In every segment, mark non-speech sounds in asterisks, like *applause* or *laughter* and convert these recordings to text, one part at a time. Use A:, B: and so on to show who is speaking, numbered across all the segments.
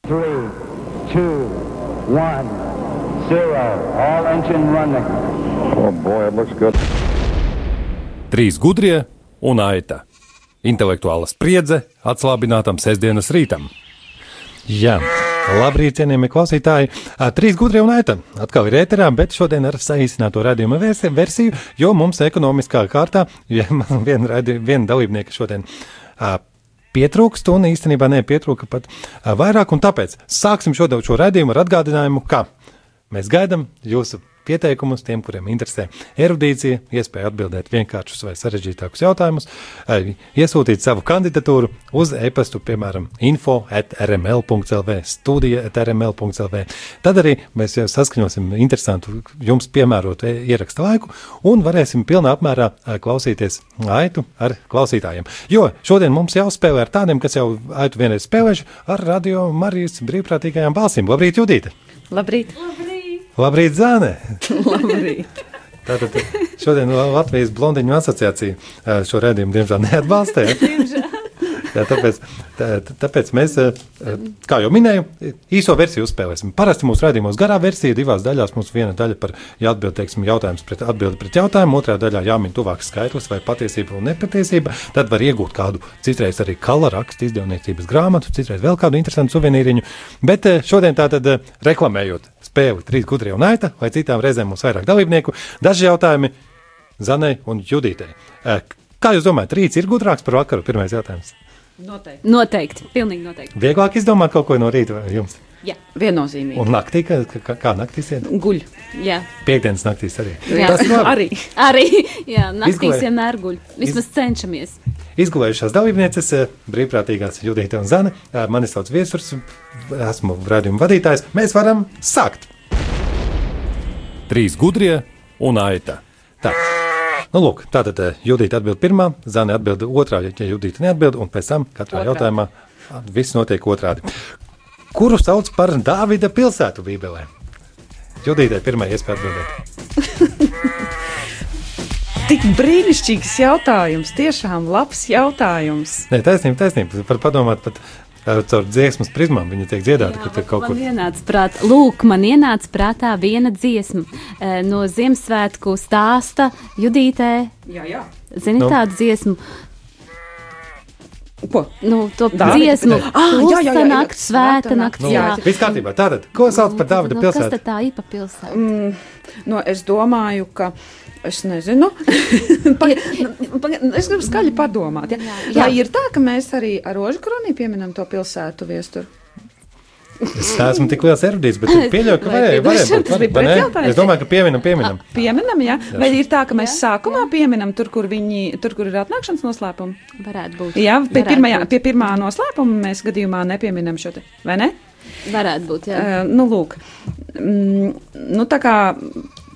A: three, two, one, zero. All engine running.
B: Oh boy, it looks good.
C: Trīs gudrie un aita. Intelektuāla spriedze atslābinātam sestdienas rītam.
D: Jā. Labrīt, cienījamie klausītāji! Ā, Trīs gudri un aita. Atkal ir ēterā, bet šodien ar saīsināto raidījuma versi- versiju, jo mums ekonomiskā kārtā ja, *laughs* man viena raidi- viena dalībnieka šodien ā, pietrūkst, un īstenībā nepietrūka pat ā, vairāk. un Tāpēc sāksim šo, šo raidījumu ar atgādinājumu, ka mēs gaidām jūsu pieteikumus tiem, kuriem interesē erudīcija, iespēja atbildēt vienkāršus vai sarežģītākus jautājumus, ai, iesūtīt savu kandidatūru uz e-pastu, piemēram, info at rml.lv, studija at rml.lv. Tad arī mēs jau saskaņosim interesantu jums piemērotu e- ieraksta laiku un varēsim pilnā apmērā ā, klausīties aitu ar klausītājiem. Jo šodien mums jāspēlē ar tādiem, kas jau aitu vienreiz spēlējuši ar radio Marijas brīvprātīgajām balsīm. Labrīt, Judīte!
E: Labrīt!
D: Labrīt, Zāne!
E: Labrīt.
D: Tātad šodien Latvijas blondiņu asociācija eh, šo redzējumu diemžēl neatbalstīja. *laughs* Jā, tāpēc, tā, tā- tāpēc mēs, eh, eh, kā jau minēju, īso versiju uzspēlēsim. Parasti mūsu redzējumos garā versija divās daļās. Mums viena daļa par jāatbild, teiksim, jautājums pret atbildi pret jautājumu, otrā daļā jāmin tuvāks skaitlis vai patiesība un nepatiesība. Tad var iegūt kādu citreiz arī kala rakstu izdevniecības grāmatu, citreiz vēl kādu interesantu suvenīriņu. Bet eh, šodien tātad eh, reklamējot spēli trīs gudrie un aita, lai citām reizēm mums vairāk dalībnieku, daži jautājumi Zanai un Judītei. Eh, Kā jūs domājat, rīts ir gudrāks par vakaru? Pirmais jautājums.
F: Noteikti.
E: Noteikti, pilnīgi noteikti.
D: Vieglāk izdomāt kaut ko no rīta vai jums.
F: Jā,
D: Un
E: Viennozīmīgi.
D: naktī, kā, kā, kā naktīs iet?
F: guļ.
E: Jā,
D: Piektdienas naktīs arī.
E: Jā.
D: Tas ir labi.
F: arī.
E: arī jā, naktīs
D: Izgulēju.
E: vienmēr guļ. Vismaz cenšamies.
D: Izgulējušās dalībnieces, eh, brīvprātīgās Judita un Zana. Eh, Mani sauc Viesurs, esmu radījuma vadītājs. Mēs varam sākt.
C: Trīs gudrie un aita.
D: Tā. Nu, lūk, tātad eh, Judita atbild pirmā, Zana atbild otrā, ja- ja Judita neatbild, un pēc tam katrā otrādi. jautājumā ah, viss notiek otrādi. Kuru sauc par Dāvida pilsētu Bībelē? Judītai pirmā iespēja atbildēt.
F: Tik brīnišķīgs jautājums, tiešām labs jautājums.
D: Nē, taisnība, taisnība. Par padomāt, pat ā, caur dziesmas prizmām viņa tiek dziedāta, ka tur kaut
E: Man
D: kur.
E: ienāca prātā, lūk, man ienāca prātā viena dziesma eh, no Ziemassvētku stāsta Judītē.
F: Jā, jā.
E: Zini
D: Nu.
E: nu. tādu dziesmu,
F: Ko?
E: nu, to
F: Dāvida?
E: dziesmu,
F: Ah, jā, jā, jā, jā.
E: nakts, svēta
F: Svēta
E: nakts.
F: nakts,
D: Nu,
E: jā.
D: viss kārtībā. Tātad, ko sauc par Dāvida
E: Nu, kas
D: pilsētu?
E: tad tā ir pa pilsētu?
F: No, es domāju, ka. Es nezinu. *laughs* Paga- nu, paga- nu, es gribu skaļi padomāt. Ja?
E: Jā, jā.
F: Jā, ir tā, ka mēs arī ar rožu kronī pieminam to pilsētu viesturu.
D: Es neesmu tik liels erudīts, bet es pieļauju, ka
E: Vai
D: varēja, varēja
F: piedošana,
D: būt.
F: tas bija Ah.
D: vai ne?
F: pretjautājums.
D: Es domāju, ka pieminam, pieminam.
F: Pieminam, jā. Vai ir tā, ka mēs sākumā pieminam tur, kur, viņi, tur, kur ir atnākšanas noslēpums?
E: Varētu būt.
F: Jā, pie,
E: Varētu
F: pirmajā,
E: būt.
F: pie pirmā noslēpuma mēs gadījumā nepieminam šo te, vai ne?
E: Varētu būt, jā.
F: Eh, nu, lūk, mm, nu, tā kā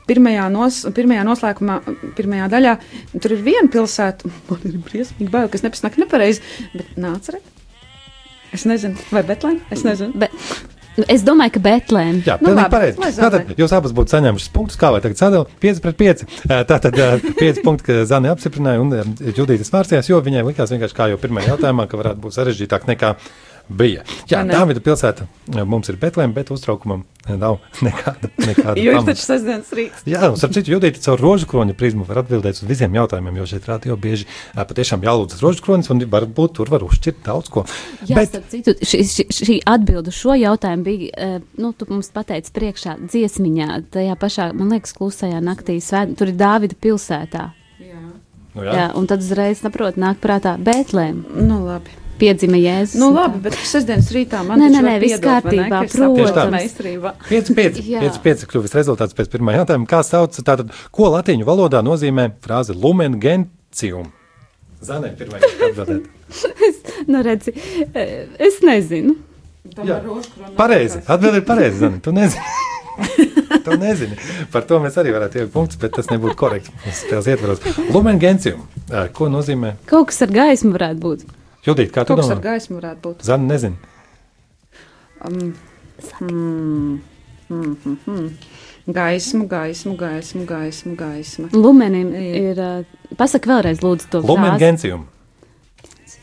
F: pirmajā, nos, pirmajā noslēgumā, pirmajā daļā tur ir viena pilsēta, man ir briesmīgi bail, kas nepasaka nepareizi, bet nāca arī. Es nezinu, vai Betlēna? Es nezinu.
E: Be, nu, es domāju, ka Betlēm.
D: Jā,
F: Nu,
D: pilnīgi
F: labi,
D: pareizi.
F: lai
D: Tātad jūs abas būtu saņēmušas punktus, kā lai tagad sadalītu 5 pret 5. Ā, Tātad 5 punkti, ka Zana apstiprināja un ā, Judītas vārstījās, jo viņai likās vienkārši kā jau pirmajā jautājumā, ka varētu būt sarežģītāk nekā bija. Jā,
F: Vai ne?
D: Dāvida pilsēta ā, mums ir Betlēm, bet uztraukumam nav nekāda. nekāda
F: Jo ir
D: pamata.
F: taču sestdienas rīts.
D: Jā, un starp citu, jūtīt caur rožu kroņa prizmu, var atbildēt uz visiem jautājumiem, jo šeit rāda jau bieži ā, patiešām jālūdzas rožu kronis, un varbūt tur var uzšķirt daudz ko.
E: Jā, bet... starp citu, šī, šī, šī atbilde uz šo jautājumu bija, eh, nu, tu mums pateici priekšā dziesmiņā, tajā pašā, man liekas, klusajā naktī, svēt, tur ir Dāvida pilsētā.
D: nu,
E: Jā. Jā, un tad uzreiz saprot, nāk prātā Bētlēm,
F: Nu, labi.
E: piedzima Jēzus.
F: Nu,
E: un
F: labi, bet sestdienas rītā man
E: Nē,
F: taču
E: nē,
F: var
E: nē, viss
F: piedot, vai ne,
E: kārtībā,
F: ka es saprotu,
D: protams.
F: ka Meistarībā.
D: 5-5.
E: Jā.
D: 5-5 kļuvis rezultāts pēc pirmā jautājuma. Kā sauc, tātad, ko latīņu valodā nozīmē frāze lumen gentium? Zanē, pirmā atbildēt.
E: tā. Nu, redzi, eh, es nezinu.
D: Jā. Pareizi, atbildi ir pareizi, Zanē, tu nezini.
E: *laughs*
D: tu nezini. Par to mēs arī varētu ielikt punktus, bet tas nebūtu korekti. mūsu Spēles ietvaros. Lumen gentium. Ā, Ko nozīmē?
E: Kaut kas ar gaismu varētu būt.
D: Judīt, kā tu
F: Kaut kas ar
D: domā?
F: gaismu varētu būt.
D: Zanē, nezinu.
F: Gaismu, gaismu, gaismu, gaismu, gaismu.
E: Lumenim ir, eh, pasaka vēlreiz, lūdzu, to
D: Lumen
E: frāzi.
D: gentium.
F: Mm.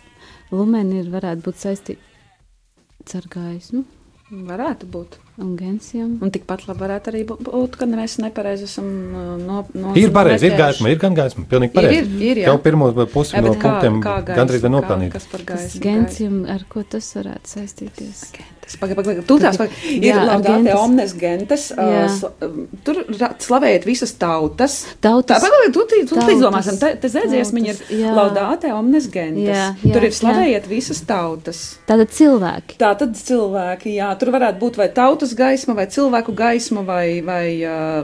E: Lumeni ir varētu būt saistīti ar gaismu.
F: Varētu būt.
E: un Gensijam.
F: Un tikpat labi varētu arī bū- būt, ka mēs nepareizi esam uh, no, no,
D: Ir pareizi, ir
F: novērtējuši.
D: gaisma, ir gan gaisma. Pilnīgi
F: Ir,
D: pareizi.
F: ir, ir, jā.
D: Jau pirmo pusi
F: Jā,
D: no
F: bet kā-
D: punktiem
F: kā gaisma,
D: gandrīz
F: kā-
D: ir nopelnīta.
F: Kas par
E: Tas
F: gaisu?
E: Gensijam, ar ko tas varētu saistīties?
F: Tas pagaid, pagaid, pagaid. Tu tās, pagaid. ir
E: Jā, ar
F: laudāte
E: gentes.
F: omnes gentes.
E: Jā.
F: Uh, sla, um, tur ra- slavējiet visas tautas.
E: Tautas.
F: Tā, pagaid, tu, tu, tu
E: Tautas.
F: izdomāsim. Te, te zēdzies, viņa
E: Tautas,
F: ir
E: jā.
F: laudāte omnes gentes.
E: Jā, jā,
F: tur ir
E: jā.
F: slavējiet visas tautas.
E: Tātad cilvēki.
F: Tā tad cilvēki, jā, tur varētu būt vai tautas gaisma, vai cilvēku gaisma, vai, vai uh,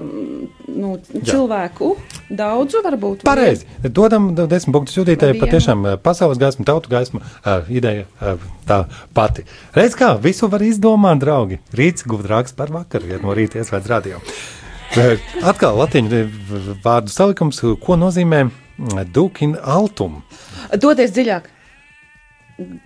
F: nu, cilvēku daudzu varbūt. vai-
D: Pareizi. Dodam d- desmit punktus jūtītājai.
F: Labi, jā.
D: Patiešām eh, pasaules gaisma, tautu gaisma, eh, ideja eh, tā pati. Reiz kā visu var izdomāt, draugi. Rīts gudrāks par vakaru, ja no rīta ieslēdz radio. Eh, Atkal latīņu eh, v- vārdu salikums, eh, ko nozīmē dukin altum.
F: Doties dziļāk.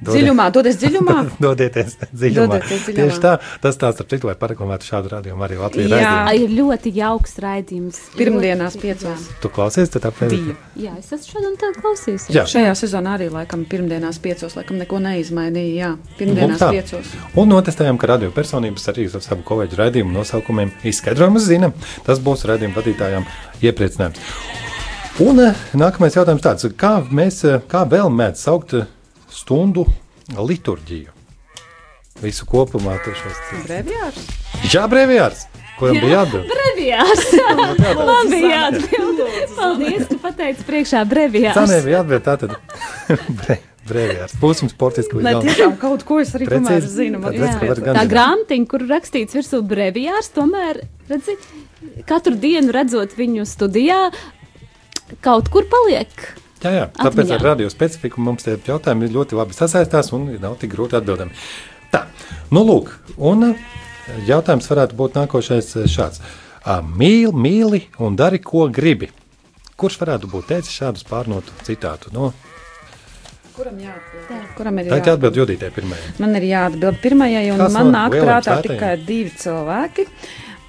F: Dziļumā, doties
D: *laughs*
F: dziļumā.
D: Dodieties dziļumā.
F: Dodieties dziļumā.
D: Tieši tā, tas tāds ar citu, lai paraklamētu šādu radījumu arī Latvijā.
F: Jā.
D: raidījumu.
E: Ai, Ir ļoti jauks raidījums.
F: Pirmdienās
E: Ļoti-
F: piecos.
D: Tu klausies, tad apmēram.
E: Jā, es esmu šodien tā klausījusies.
D: Jā.
F: Šajā sezonā arī laikam pirmdienās piecos, laikam neko neizmainīja. Jā, pirmdienās
D: tā.
F: piecos.
D: Un notestējām, ka radio personības arī ar savu kolēģu raidījumu nosaukumiem izskaidrojumus zina. Tas būs raidījuma vadītājām iepriecinājums. Un eh, nākamais jautājums tāds, kā mēs, eh, kā vēl mēdz saukt eh, stundu liturģiju? Visu kopumā tur šos.
F: Brevjārs.
D: Jā, brevjārs, kuram bija jāatbild. *laughs*
E: Brevijārs! Man bija jāatbild. Paldies, ka pateici priekšā
D: Tā
E: brevijārs.
D: nebija jāatbild, tā *laughs* tad bre, brevjārs. Būsim sportiski
F: Nē,
D: līdz galam.
F: tiešām kaut ko es arī tomēr
D: Precīzi.
F: zinu. man
D: Tad redz, ka var
F: jāiet.
D: gan
E: Tā
D: zināt.
E: grāmatiņa, kur rakstīts virsū brevijārs, tomēr, redzi, katru dienu redzot viņu studijā, kaut kur paliek.
D: Jā, jā. tāpēc
E: Atmiņā.
D: ar radio specifiku mums tie jautājumi ļoti labi sasaistās un nav tik grūti atbildami. Tā, nu lūk, un eh, jautājums varētu būt nākošais eh, šāds. Ah, Mīli, mīli un dari, ko gribi. Kurš varētu būt teicis šādus pārnotu citātu? No,
F: Kuram jāatbild? Kuram
D: tā
F: ir
D: ir
F: jāatbild?
D: atbild jūtītē pirmajai.
F: Man ir jāatbild pirmajai, un
D: Kas
F: man
D: no
F: nāk
D: lieliem
F: prātā
D: svētajiem?
F: tikai divi cilvēki.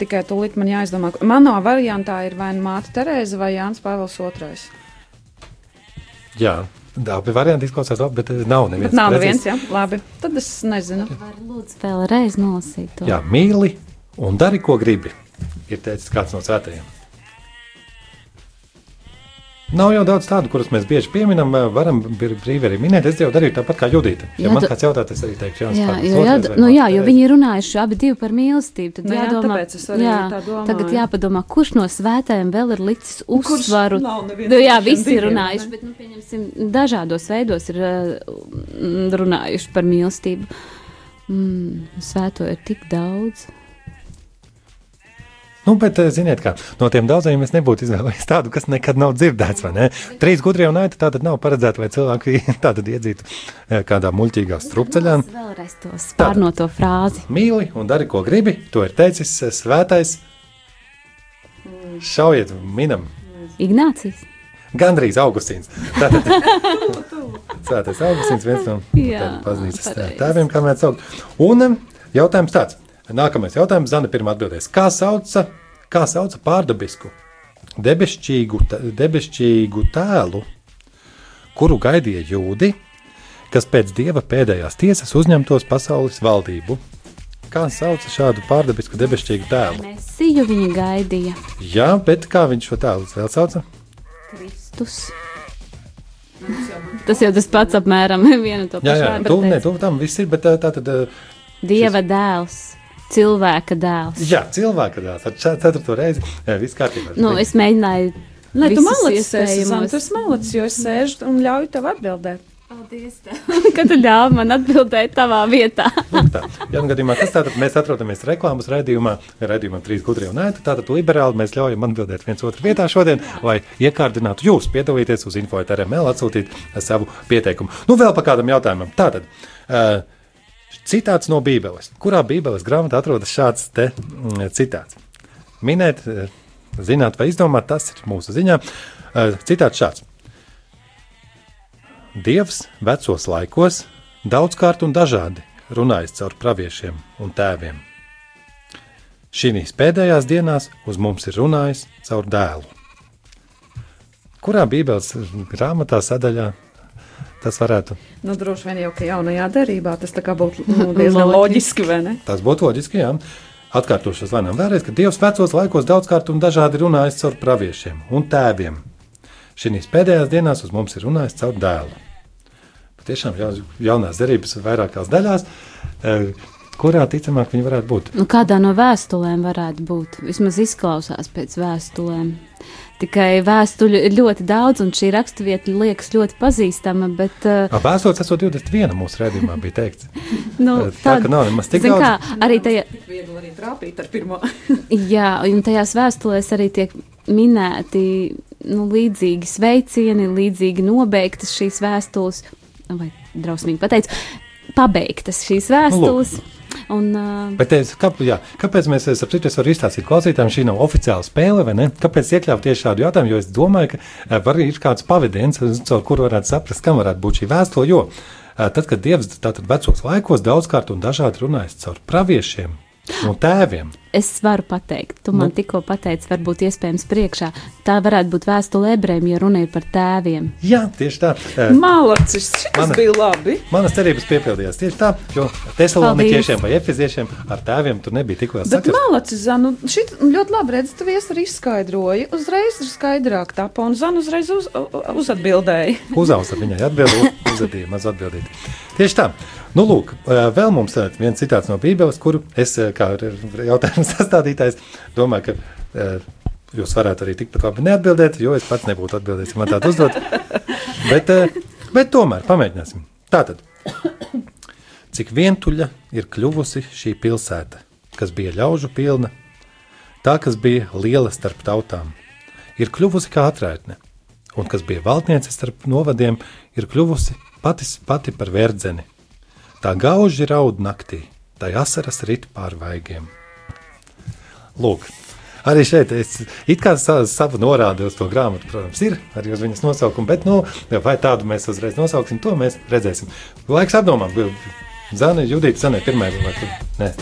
F: Tikai tūlīt man jāizdomā, ka manā variantā ir vai nu māte Terēza vai Jānis Pāvils II.
D: Jā, abi varianti izklausās labi, bet eh, nav neviens.
F: Bet nav
D: precīzi.
F: neviens, jā, labi. Tad es nezinu.
E: Var lūdzu vēlreiz nolasīt to.
D: Jā, mīli un dari, ko gribi. Ir teicis kāds no svētajiem. Nav jau daudz tādu, kurus mēs bieži pieminam, varam br- brīvi arī minēt. Es jau darīju tāpat kā Judita.
E: Jā,
D: Ja jā, man
E: tu-
D: kāds jautā, tas arī teikšu, Jānis.
E: Jā,
D: Pāvils
E: jo, jā,
D: otrais vai
E: nu, jā,
D: Mārcis
E: jo
D: Terēzes.
E: viņi ir runājuši abi divi par mīlestību. Tad
F: Nu jā,
E: jādomā,
F: tāpēc es arī tā domāju. Nu,
E: tagad jāpadomā, kurš no svētājiem vēl ir licis
F: kurš
E: uzsvaru.
F: nav neviens
E: nu,
F: no
E: jā,
F: šiem
E: visi ir
F: diviem,
E: runājuši,
F: ne?
E: bet nu, pieņemsim, dažādos veidos ir eh, runājuši par mīlestību. Mm, svēto ir tik daudz.
D: Nu, bet, eh, ziniet, kā no tiem daudziem es nebūtu izvēlējies tādu, kas nekad nav dzirdēts. vai ne? Trīs gudrie un aita tā tad nav paredzēta, lai cilvēki *laughs* tā tad iedzītu eh, kādā muļķīgā strupceļā.
E: Es vēlreiz to spārnoto frāzi.
D: mīli un dari, ko gribi. To ir teicis eh, svētais. Šaujiet, minam,
E: Ignācijas.
D: gandrīz Augustīns.
E: *laughs*
D: Tātad, svētais Augustīns, viens no
E: Jā,
D: tādiem baznīcas
E: pareizi.
D: tēviem, kā mēs saucam. Un em, jautājums tāds. Nākamais jautājums, Zana, pirmā atbildēs. Kā sauca, kā sauca pārdabisku, debesšķīgu, t- debesšķīgu tēlu, kuru gaidīja jūdi, kas pēc dieva pēdējās tiesas uzņemtos pasaules valdību? Kā sauca šādu pārdabisku debesšķīgu tēlu?
E: Mēs siju viņa gaidīja.
D: Jā, bet kā viņš šo tēlu vēl sauca?
E: Kristus. Tas jau tas pats apmēram *laughs* viena un to
D: Jā,
E: pašu
D: jā,
E: vārdu
D: tu, ne,
E: teica.
D: tu, tam viss ir, bet tā, tā tad. eh,
E: Dieva dēls, cilvēka dēls.
D: Jā, cilvēka dēls. Ar čet- ceturto reizi eh, viss kārtībā.
E: Nu, es mēģināju. *laughs*
F: Lai tu
E: visus
F: malacis, esi,
E: iespējamos.
F: Zan, tu esi malacis, jo es sēžu un ļauju tev atbildēt.
E: Paldies, tev, ka tu ļāvi man atbildēt tavā vietā.
D: Lūk tā. Jā, nu gadījumā kas tātad mēs atrodamies reklāmas raidījumā, raidījumam trīs gudrie un ēta. Tātad liberāli mēs ļaujam atbildēt viens otru vietā šodien, lai iekārdinātu jūs piedalīties uz info.rml, atsūtīt eh, savu pieteikumu. Nu, vēl pa kādam jautājumam. Tātad. Uh, Citāts no Bībeles. Kurā Bībeles grāmatā atrodas šāds te, mm, citāts? Minēt, eh, zināt vai izdomāt, tas ir mūsu ziņā. Eh, Citāts šāds. Dievs vecos laikos daudzkārt un dažādi runājis caur praviešiem un tēviem. Šīs pēdējās dienās uz mums ir runājis caur dēlu. Kurā Bībeles grāmatā sadaļā Tas varētu.
F: Nu, droši vien jau ka jaunajā derībā tas tā kā būtu
E: *laughs*
F: nu, diezgan loģiski, vai ne?
D: Tas būtu loģiski, jā. Atkārtošos lēnām vēlreiz, ka Dievs vecos laikos daudzkārt un dažādi runājis caur praviešiem un tēviem. Šīs pēdējās dienās uz mums ir runājis caur dēlu. Patiešām jau, jaunās derības vairākās daļās, eh, kurā ticamāk viņi varētu būt.
E: *laughs* Nu, kādā no vēstulēm varētu būt? Vismaz izklausās pēc vēstulēm. Tikai vēstuļu ir ļoti daudz, un šī raksturvieta liekas ļoti pazīstama. Bet, eh,
D: Vēstos 121. mūsu redzējumā bija teikts.
E: nu,
D: Tā, ka nav nemaz tik
E: zin
D: daudz.
E: kā, arī tajā,
F: Tik viegli arī trāpīt ar *laughs* pirmo.
E: jā, un tajās vēstulēs arī tiek minēti nu, līdzīgi sveicieni, līdzīgi nobeigtas šīs vēstules, vai drausmīgi pateicu, pabeigtas šīs vēstules. Un, uh,
D: Bet es, kā, jā, kāpēc mēs ap citu es varu izstāstīt klausītājiem, šī nav oficiāla spēle, vai ne? Kāpēc iekļaut tieši šādu jautājumu? Jo es domāju, ka eh, var ir kāds pavadiens, caur kuru varētu saprast, kam varētu būt šī vēstule. Jo eh, tad, kad Dievs tātad vecos laikos daudzkārt un dažādi runājis caur praviešiem un tēviem,
E: Es varu pateikt, tu man tikko pateici, varbūt iespējams priekšā. Tā varētu būt vēstule ebrejiem, ja runa ir par tēviem.
D: jā, tieši tā. eh,
F: Malacis, šis
D: Mana-
F: bija labi.
D: Manas cerības piepildījās tieši tā, jo tesaloniķiešiem vai efiziešiem ar tēviem tur nebija tik liels
F: Bet
D: sakars.
F: malacis, Zanu, šit nu, ļoti labi redz, tu viesi arī izskaidroji. Uzreiz ir skaidrāk tapa, un Zanu uzreiz uz, uzatbildēja. *laughs*
D: Uzausa viņai atbildēja, uzadīja maz atbildēt. Tieši tā. Nu, lūk, eh, vēl mums eh, viens citāts no Bībeles, kuru es eh, kā r- r- jautājumu *laughs* sastādītājs domāju, ka eh, jūs varētu arī tikpat labi neatbildēt, jo es pats nebūtu atbildējis, ja man tādu uzdot. Bet, eh, bet tomēr pamēģināsim. Tātad, cik vientuļa ir kļuvusi šī pilsēta, kas bija ļaužu pilna, tā, kas bija liela starp tautām, ir kļuvusi kā atraitne, un kas bija valdniece starp novadiem, ir kļuvusi pati, pati par verdzeni. Tā gauži raud naktī, tai asaras rit pār vaigiem. Lūk, arī šeit es it kā sa, savu norādu uz to grāmatu, protams, ir arī uz viņas nosaukumu, bet nu, vai tādu mēs uzreiz nosauksim, to mēs redzēsim. Laiks apdomām. Zana, Judita, Zanē, pirmā vai kur? Nē.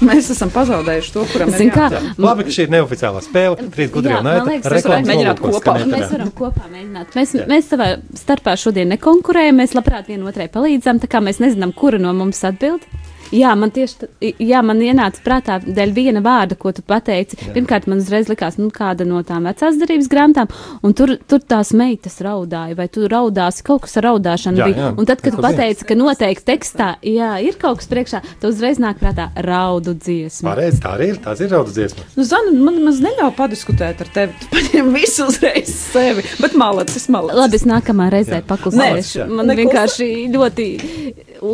F: Mēs esam pazaudējuši to, kuram
E: Zini
F: ir
E: kā,
F: jā.
D: Jā, labi, ka šī ir neoficiālā spēle. Trīs gudri
E: Jā,
D: un
E: man
D: aita.
E: liekas, mēs
D: Reklāmas
F: varētu mēģināt
D: nolūkos
F: kopā.
D: skanēja
E: Mēs
D: tādā.
E: varam kopā mēģināt. Mēs, mēs savā starpā šodien nekonkurējam, mēs labprāt vienotrai palīdzam, tā kā mēs nezinām, kura no mums atbild. Jā, man tieši t- jā, man ienāca prātā dēļ viena vārda, ko tu pateici. Jā. Pirmkārt, man uzreiz likās, nu, kāda no tām vecās darbības grāmatām, un tur, tur tās meitas raudāja, vai tu raudāsi, kaut kas ar raudāšanu
D: Jā,
E: bija.
D: jā.
E: Un tad, kad tu
D: Kaut kas
E: pateici, ka noteikti tekstā, jā, ir kaut kas priekšā, tad uzreiz nāk prātā raudu dziesma.
D: Pareizi, tā arī ir. Tās ir raudas dziesmas.
F: Nu, Zanu, man maz neļauj padiskutēt ar tevi. Tu paņem visu uzreiz sevi. Bet malacis, malacis.
E: Labi, es nākamā reizē
D: Jā.
E: paklusināšu.
D: Nē,
E: Man
F: neklausā.
E: vienkārši ļoti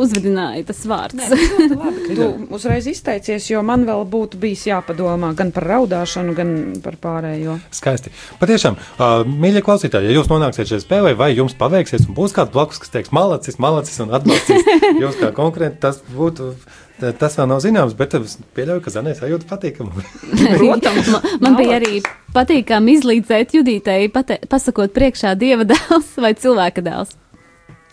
E: uzvedināja tas vārds. *laughs*
F: Ļoti *laughs* labi, ka Tu uzreiz izteicies, jo man vēl būtu bijis jāpadomā gan par raudāšanu, gan par pārējo.
D: Skaisti. Patiešām, uh, mīļie klausītāji, ja jūs nonāksiet šajā spēlē, vai jums paveiksies, un būs kāds blakus, kas teiks, malacis, malacis un atbalstīs *laughs* jūs kā konkurenti, tas būtu. Tas vēl nav zināms, bet es pieļauju, ka Zanē sajūta patīkamu. *laughs*
F: Protams,
E: *laughs* man, man bija arī patīkami izlīdzēt Judītei, pate, pasakot priekšā dieva dēls *laughs* vai cilvēka dēls.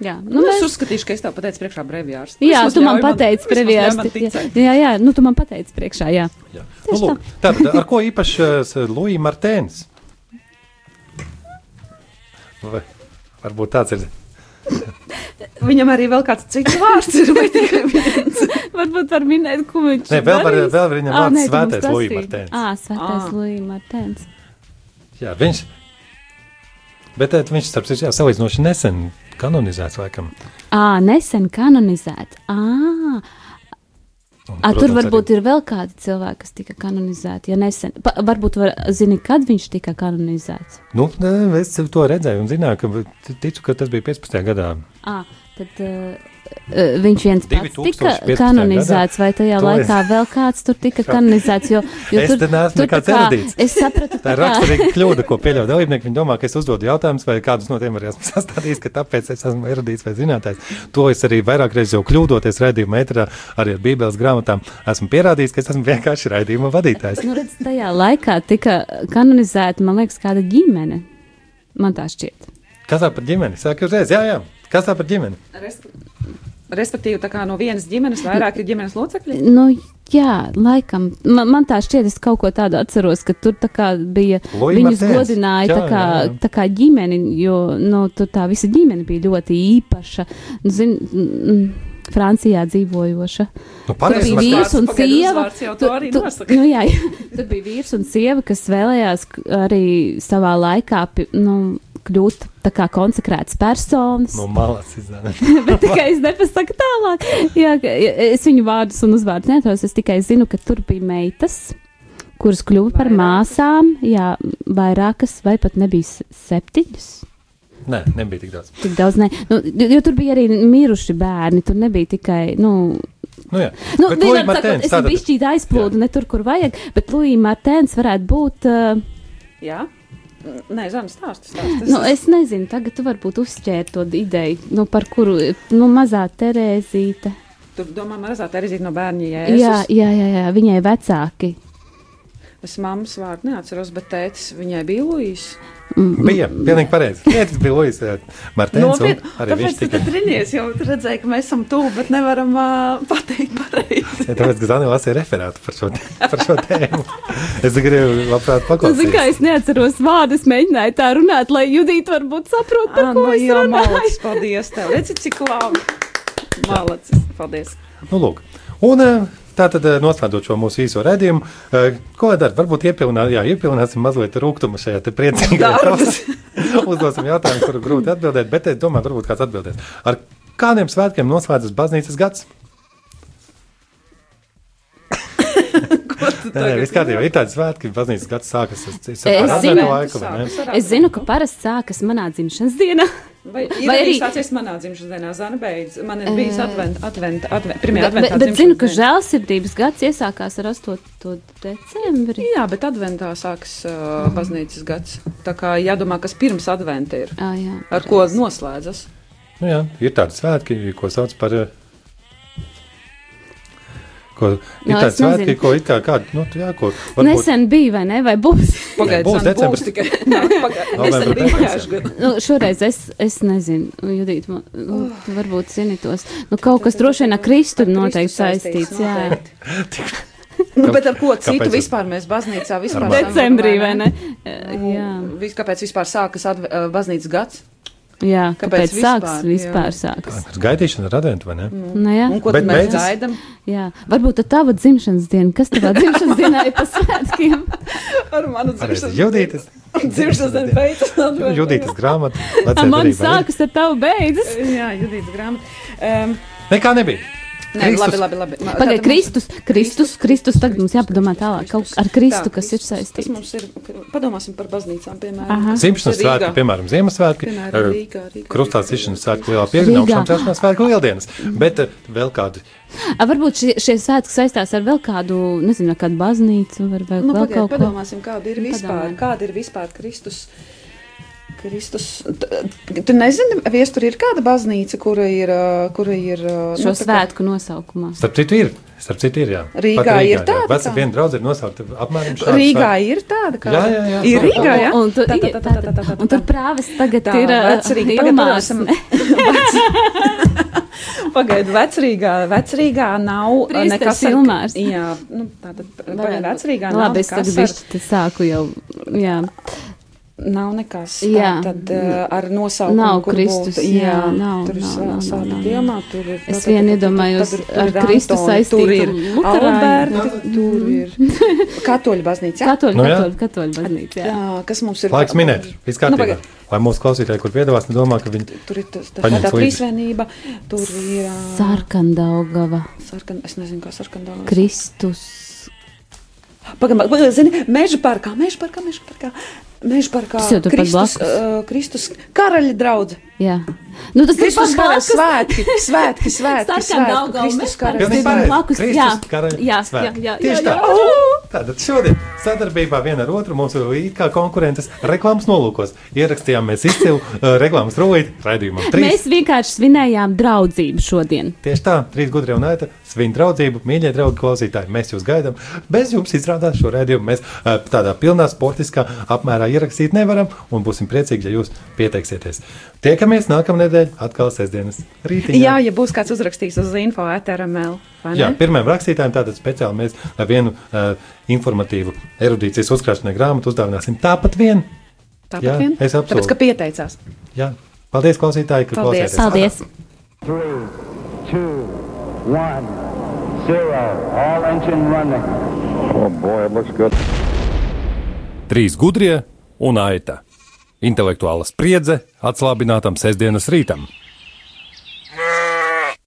E: Jā, nu,
F: Nu, es
E: mēs,
F: uzskatīšu, ka es tev pateicu priekšā brevjārs.
E: jā tu man pateici priekšā. Jā, jā, jā, nu tu man pateici priekšā, jā.
D: Jā. Nu, lūk, tātad, ar ko īpašs Lūija Martēns? Vai, varbūt tāds ir.
F: Viņam arī vēl kāds cits vārds ir. vai tikai viens?
E: *laughs* Varbūt var minēt, ko viņš
D: Nē, vēl var-
E: darīs.
D: vēl var viņam
E: Ā,
D: vārds
E: nē, tu mums
D: svētais Lūija
E: prasīji.
D: Martēns.
E: Ā, svētais
F: Ā.
E: Lūija Martēns.
D: Jā, viņš. Bet eh, viņš, starp citu, jā, salīdzinoši nesen kanonizēts, laikam.
E: Ā, nesen kanonizēts. Ā,
D: Un,
E: A, tur
D: protams,
E: varbūt ir vēl kādi cilvēki, kas tika kanonizēti. Ja nesen, pa, varbūt var, zini, kad viņš tika kanonizēts.
D: Arī, nu, nē, es to redzēju un zināju, ka t- ticu, ka tas bija 15. gadā.
E: À, tad uh, viņš viens pats
D: 2015.
E: tika kanonizēts, vai tajā
D: To es-
E: laikā vēl kāds tur tika kanonizēts. Jo, jo
D: Es
E: tur,
D: te neesmu
E: tur tā
D: nekāds erudīts.
E: Es sapratu,
D: Tā ir raksturīga kļūda, ko pieļauj dalībnieki. Viņi domā, ka es uzdodu jautājumus, vai kādus no tiem arī esmu *laughs* sastādījis, ka tāpēc es esmu erudīts vai zinātājs. To es arī vairāk reizes jau kļūdoties raidījuma metrā, arī ar Bībeles grāmatām esmu pierādījis, ka es esmu vienkārši raidījuma vadītājs.
E: Nu, redz, tajā laikā tika kanonizēta, man liekas, kāda ģimene. Man tā šķiet.
D: Kas tā par ģimeni? Saka uzreiz, jā, jā. Kas tā par ģimeni?
F: Respe- Respektīvi, tā kā no vienas ģimenes vairāk ir ģimenes locekļi.
E: Nu, jā, laikam, man, man tā šķiet, es kaut ko tādu atceros, ka tur tā kā bija,
D: Lui
E: viņus
D: Martens.
E: godināja
D: Jā,
E: tā kā,
D: jā, jā.
E: tā kā ģimeni, jo, nu, tur tā visa ģimene bija ļoti īpaša, nu, zin, mm, Francijā dzīvojoša.
D: Nu,
E: Tur
D: pareizi,
E: bija
D: mēs
E: vīrs
D: tā-
E: un
F: Pagaidu,
E: sieva.
F: uzvārds jau to
E: Tur-
F: arī
E: tur-
F: nosaka.
E: nu, jā, jā. Tur bija vīrs un sieva, kas vēlējās k- arī savā laikā pi- nu, kļūt tā kā konsekrētas personas.
D: No Nu, malas izdevuma.
E: Bet tikai es nepasaku tālāk. Jā, ka- ja- es viņu vārdus un uzvārdus neatceros. Es tikai zinu, ka tur bija meitas, kuras kļuva par māsām. Jā, vairākas, vai pat nebija se- septiņas.
D: Nē, nebija tik daudz.
E: Tik daudz ne. Nu, jo jo tur bija arī miruši bērni. Tur nebija tikai. Nu,
D: Nu, jā.
E: Nu,
D: Bet Lui
E: vienmēr
D: Martens,
E: sakot, es
D: tātad-
E: bišķīt aizplūdu ne tur, kur vajag, bet Lūija Martēns varētu būt, uh,
F: Jā. Nē, Zana, stāsti. stāsti.
E: nu, es nezinu, tagad tu varbūt uzķēri to ideju, nu, par kuru, nu, mazā Terēzīte.
F: Tur domā, man redzēt, arī zina no bērna jēzus.
E: Jā, jā, jā, jā, viņai vecāki.
F: Es mammas vārdu neatceros, bet tētis viņai bija Lūijas.
D: Bija, pilnīgi
E: *laughs*
D: pareizi. Tētis bija Lūis Martens. un Arī viņš
F: Nu, tāpēc tu
D: tika.
F: te trinies, jo tu redzēji, ka mēs esam tuvu, bet nevaram uh, pateikt
E: *laughs*
F: pareizi.
D: Ja Tāpēc, ka Zana lasīja referātu par šo, tē- *laughs* par šo tēmu. Es gribu,
E: Nu, zin
D: labprāt,
E: kā
D: paklausīties.
E: es neatceros vārdus, mēģināju tā runāt, lai Judīt varbūt saprot, par ko
F: Anna,
E: es
F: nu, jā,
E: runāju.
F: malacis, paldies tev. Redzi, cik labi. Malacis, paldies.
D: Nu, lūk. Un eh, tātad, eh, noslēdzot šo mūsu īso redzījumu, eh, ko lai dara? Varbūt iepilnā, jā, iepilnāsim mazliet rūkumu šajā te priecīgajā klausē. *laughs* Uzdosim jautājumu, kuru grūti atbildēt, bet es domāju, varbūt kāds atbildēs. Ar kādiem svētkiem noslēdzas baznīcas gads? Nē, nē, viss kārtībā. Ir tādi svētki, ka baznīcas gads sākas ar citu
E: zinu.
D: laiku. vai ne?
E: Es zinu, ka parasti sākas manā dzimšanas dienā.
F: Vai, ir
E: Vai
F: vai arī
E: arī-
F: sācies manā dzimšanas dienā, Zana beidz. Man ir bijis advent, advent, advent, pirmie
E: Bet, bet,
F: adventā
E: bet zinu, ka
F: dzimšanas diena.
E: žēlsirdības gads iesākās ar 8. decembri.
F: Jā, bet adventā sākas uh, baznīcas gads. Tā kā jādomā, kas pirms adventa ir.
E: Ah, jā,
F: Ar ko noslēdzas?
D: Nu, jā, ir tādi svētki, ko sauc par. eh, Ko, ir
E: Nu,
D: no,
E: es
D: tādi svētki,
E: nezinu.
D: ko it kā kāda, nu, jā, ko varbūt
E: Nesen bija, vai ne? Vai būs? *laughs*
F: Pagaidiet,
D: būs
F: Zana,
D: decembris.
F: būs tikai. *laughs* Nā, pagaid-
D: Novembra,
F: Nesen bija
D: decembris.
F: pagājuši gadu.
E: Nu, šoreiz es, es nezinu, Judīt, man, nu,
F: Oh.
E: tu varbūt zini tos. Nu, kaut kas droši vien ar Kristu ir noteikti saistīts. Jā,
D: *laughs*
F: Nu, bet ar ko citu
D: Kāpēc es-
F: vispār mēs baznīcā vispār? esam,
E: *laughs* decembrī vai ne? Jā,
F: Vis, Nu, kāpēc vispār sākas adve, uh, baznīcas gads?
E: jā
F: Kāpēc
E: kāpēc sāks?
F: vispār?
E: Vispār
F: Jā.
E: sāks.
D: ar gaidīšanu ar adventu vai ne?
E: Nu, jā,
F: Un ko
D: Bet
F: tad mēs
D: beidzas?
F: gaidām? *laughs*
E: jā, varbūt tā tava dzimšanas diena. Kas tavā dzimšanas dienā ir pa svētkiem?
F: Ar manu
D: Arī Judītas,
F: dzimšanas dienu beidzas. adventā.
D: Judītas
E: *laughs*
D: grāmata.
E: Ā,
D: vecajā
E: Man
D: derībā, ne?
E: sākas ar tavu beidzas.
F: Jā, Judītas grāmata. Um,
D: Nekā nebija.
F: nē,
D: Kristus.
F: labi, labi. labi. Ma-
E: Pagaid,
F: tātad mums-
E: Kristus, Kristus, Kristus, tagad mums jāpadomā tālāk kaut ar Kristu,
F: Tā,
E: kas ir
F: Kristus, kas
E: saistīts.
F: mums ir, padomāsim par baznīcām, piemēram.
E: Aha.
F: kas
D: Zimšanas
F: mums ir
D: svētki,
F: Rīgā.
D: piemēram, Ziemassvētki,
F: Piemēram,
D: eh,
F: Rīgā, Rīgā,
D: krustā
F: Rīgā,
D: cišanas svētki, lielā piekdiena,
E: Rīgā. Mhm.
D: augšām celšanās svētki, lieldienas. Bet eh, vēl kādu
E: A, Varbūt šie, šie svētki saistās ar vēl kādu, nezinu, ar kādu baznīcu vai, vai
F: Nu,
E: vēl
F: pagaid,
E: kaut ko.
F: padomāsim, kāda ir vispār,
E: padomājam.
F: kāda ir vispār Kristus. Kristus, t- tu nezini, viestur ir kāda baznīca, kura ir, ā, kura ir ā,
E: Šo
F: nu, tā kā-
E: svētku nosaukumā.
D: starp citu ir. Starp citu ir, jā.
F: Rīgā
D: Pat
F: ir
D: jā.
F: tāda
D: Vecā
F: kā?
D: viena draudze ir nosaukta apmēram šādi
F: Rīgā
D: svētki.
F: ir tāda kā
D: Jā, jā, jā.
F: ir Rīgā, jā.
E: Un, un, tu,
F: Tā, tā,
E: ir,
F: tā, tā, tā, tā, tā,
E: un tur
F: tā.
E: prāvis tagad
F: Tā,
E: ir
F: vecrīga. Tagad
E: Ilmārs. *laughs*
F: padomāsim. Pagaidu, vecrīgā, vecrīgā nav ā,
E: Priesteris
F: nekas ar-
E: Ilmārs.
F: Jā, nu, tātad, pagaidu, vecrīgā nav
E: Labi, es
F: nekas
E: tagad
F: ar-
E: bišķi te sāku jau. Jā,
F: Nav nekas
E: Jā.
F: tāds, tad uh, ar nosaukumu
E: Nav
F: kur
E: Kristus,
F: Būt,
E: jā, nav,
F: tur ir
E: nav,
F: sā-
E: nav,
F: sāta
E: nav, nav.
F: diemā, tur ir.
E: Es vien iedomājos ar Kristu
F: Tur
E: saistītu
F: ir
E: luterāņu.
F: Alberti, tur ir *laughs* Katoļu baznīca. jā?
E: katoļu,
D: Nu jā.
E: katoļu, katoļu baznīca. Jā.
F: Jā, kas mums ir?
D: Laiks minēt, viss
F: Nu,
D: kārtībā.
F: pagaid,
D: Lai mūsu klausītāji, kur piedalās, nedomā, ka viņi
F: Tur ir tas, tā,
D: Paņem
F: tā
D: slīdi.
F: trīsvienība, tur ir ā,
E: Sarkandaugava,
F: sarkan, es nezinu, kā sarkanā.
E: Kristus.
F: Pagaidām, pagaidām, zini, meža parkā, meža parkā, meža parkā. Meža parkā
E: Tas jau turpat
F: Kristus,
E: blakus.
F: uh, Kristus karaļa draudzene.
E: Jā. Nu, tas ir
F: Kristus
E: pats
F: karaļa
E: blakus.
F: svētki,
E: *laughs*
F: svētki, svētki, svētki,
E: Sarkandaugava,
F: Kristus
E: mēs
F: karaļa.
E: parasti
D: Pilnīgi
E: esam
D: pareizi.
E: blakus.
D: Kristus
E: Jā,
D: karaļa
E: jā, jā,
D: svētki.
E: jā,
D: Tieši
E: jā, jā.
D: tā. Tātad šodien sadarbībā viena ar otru mūsu it kā konkurences reklāmas nolūkos ierakstījām mēs izcilu eh, reklāmas rulīti raidījumam. Trīs.
E: Mēs vienkārši svinējām draudzību šodien.
D: Tieši tā, trīs gudri un aita, svin draudzību, mīļie draugi klausītāji, mēs jūs gaidām. Bez jums izrādās šo rēdījumu mēs eh, tādā pilnā sportiskā apmērā ierakstīt nevaram un būsim priecīgi, ja jūs pieteiksieties. Tiekamies nākamnedēļ atkal sestdienas rītā.
F: Jā, ja būs kāds uzrakstījis uz info ēteramēlu.
D: Jā, pirmajam rakstītājam tātad speciāli mēs ar vienu uh, informatīvu erudīcijas uzkrāšanai grāmatu uzdāvināsim tāpat vienu. jā,
F: Tāpat vien.
D: es absolūti.
F: Tāpēc, ka pieteicās.
D: Jā. Paldies, klausītāji, ka
F: Paldies.
D: klausījāties.
E: Paldies!
A: Three, two, one, zero. All engine running.
B: Oh boy, it looks good.
C: Trīs gudrie un aita. Intelektuāla spriedze atslābinātam sestdienas rītam.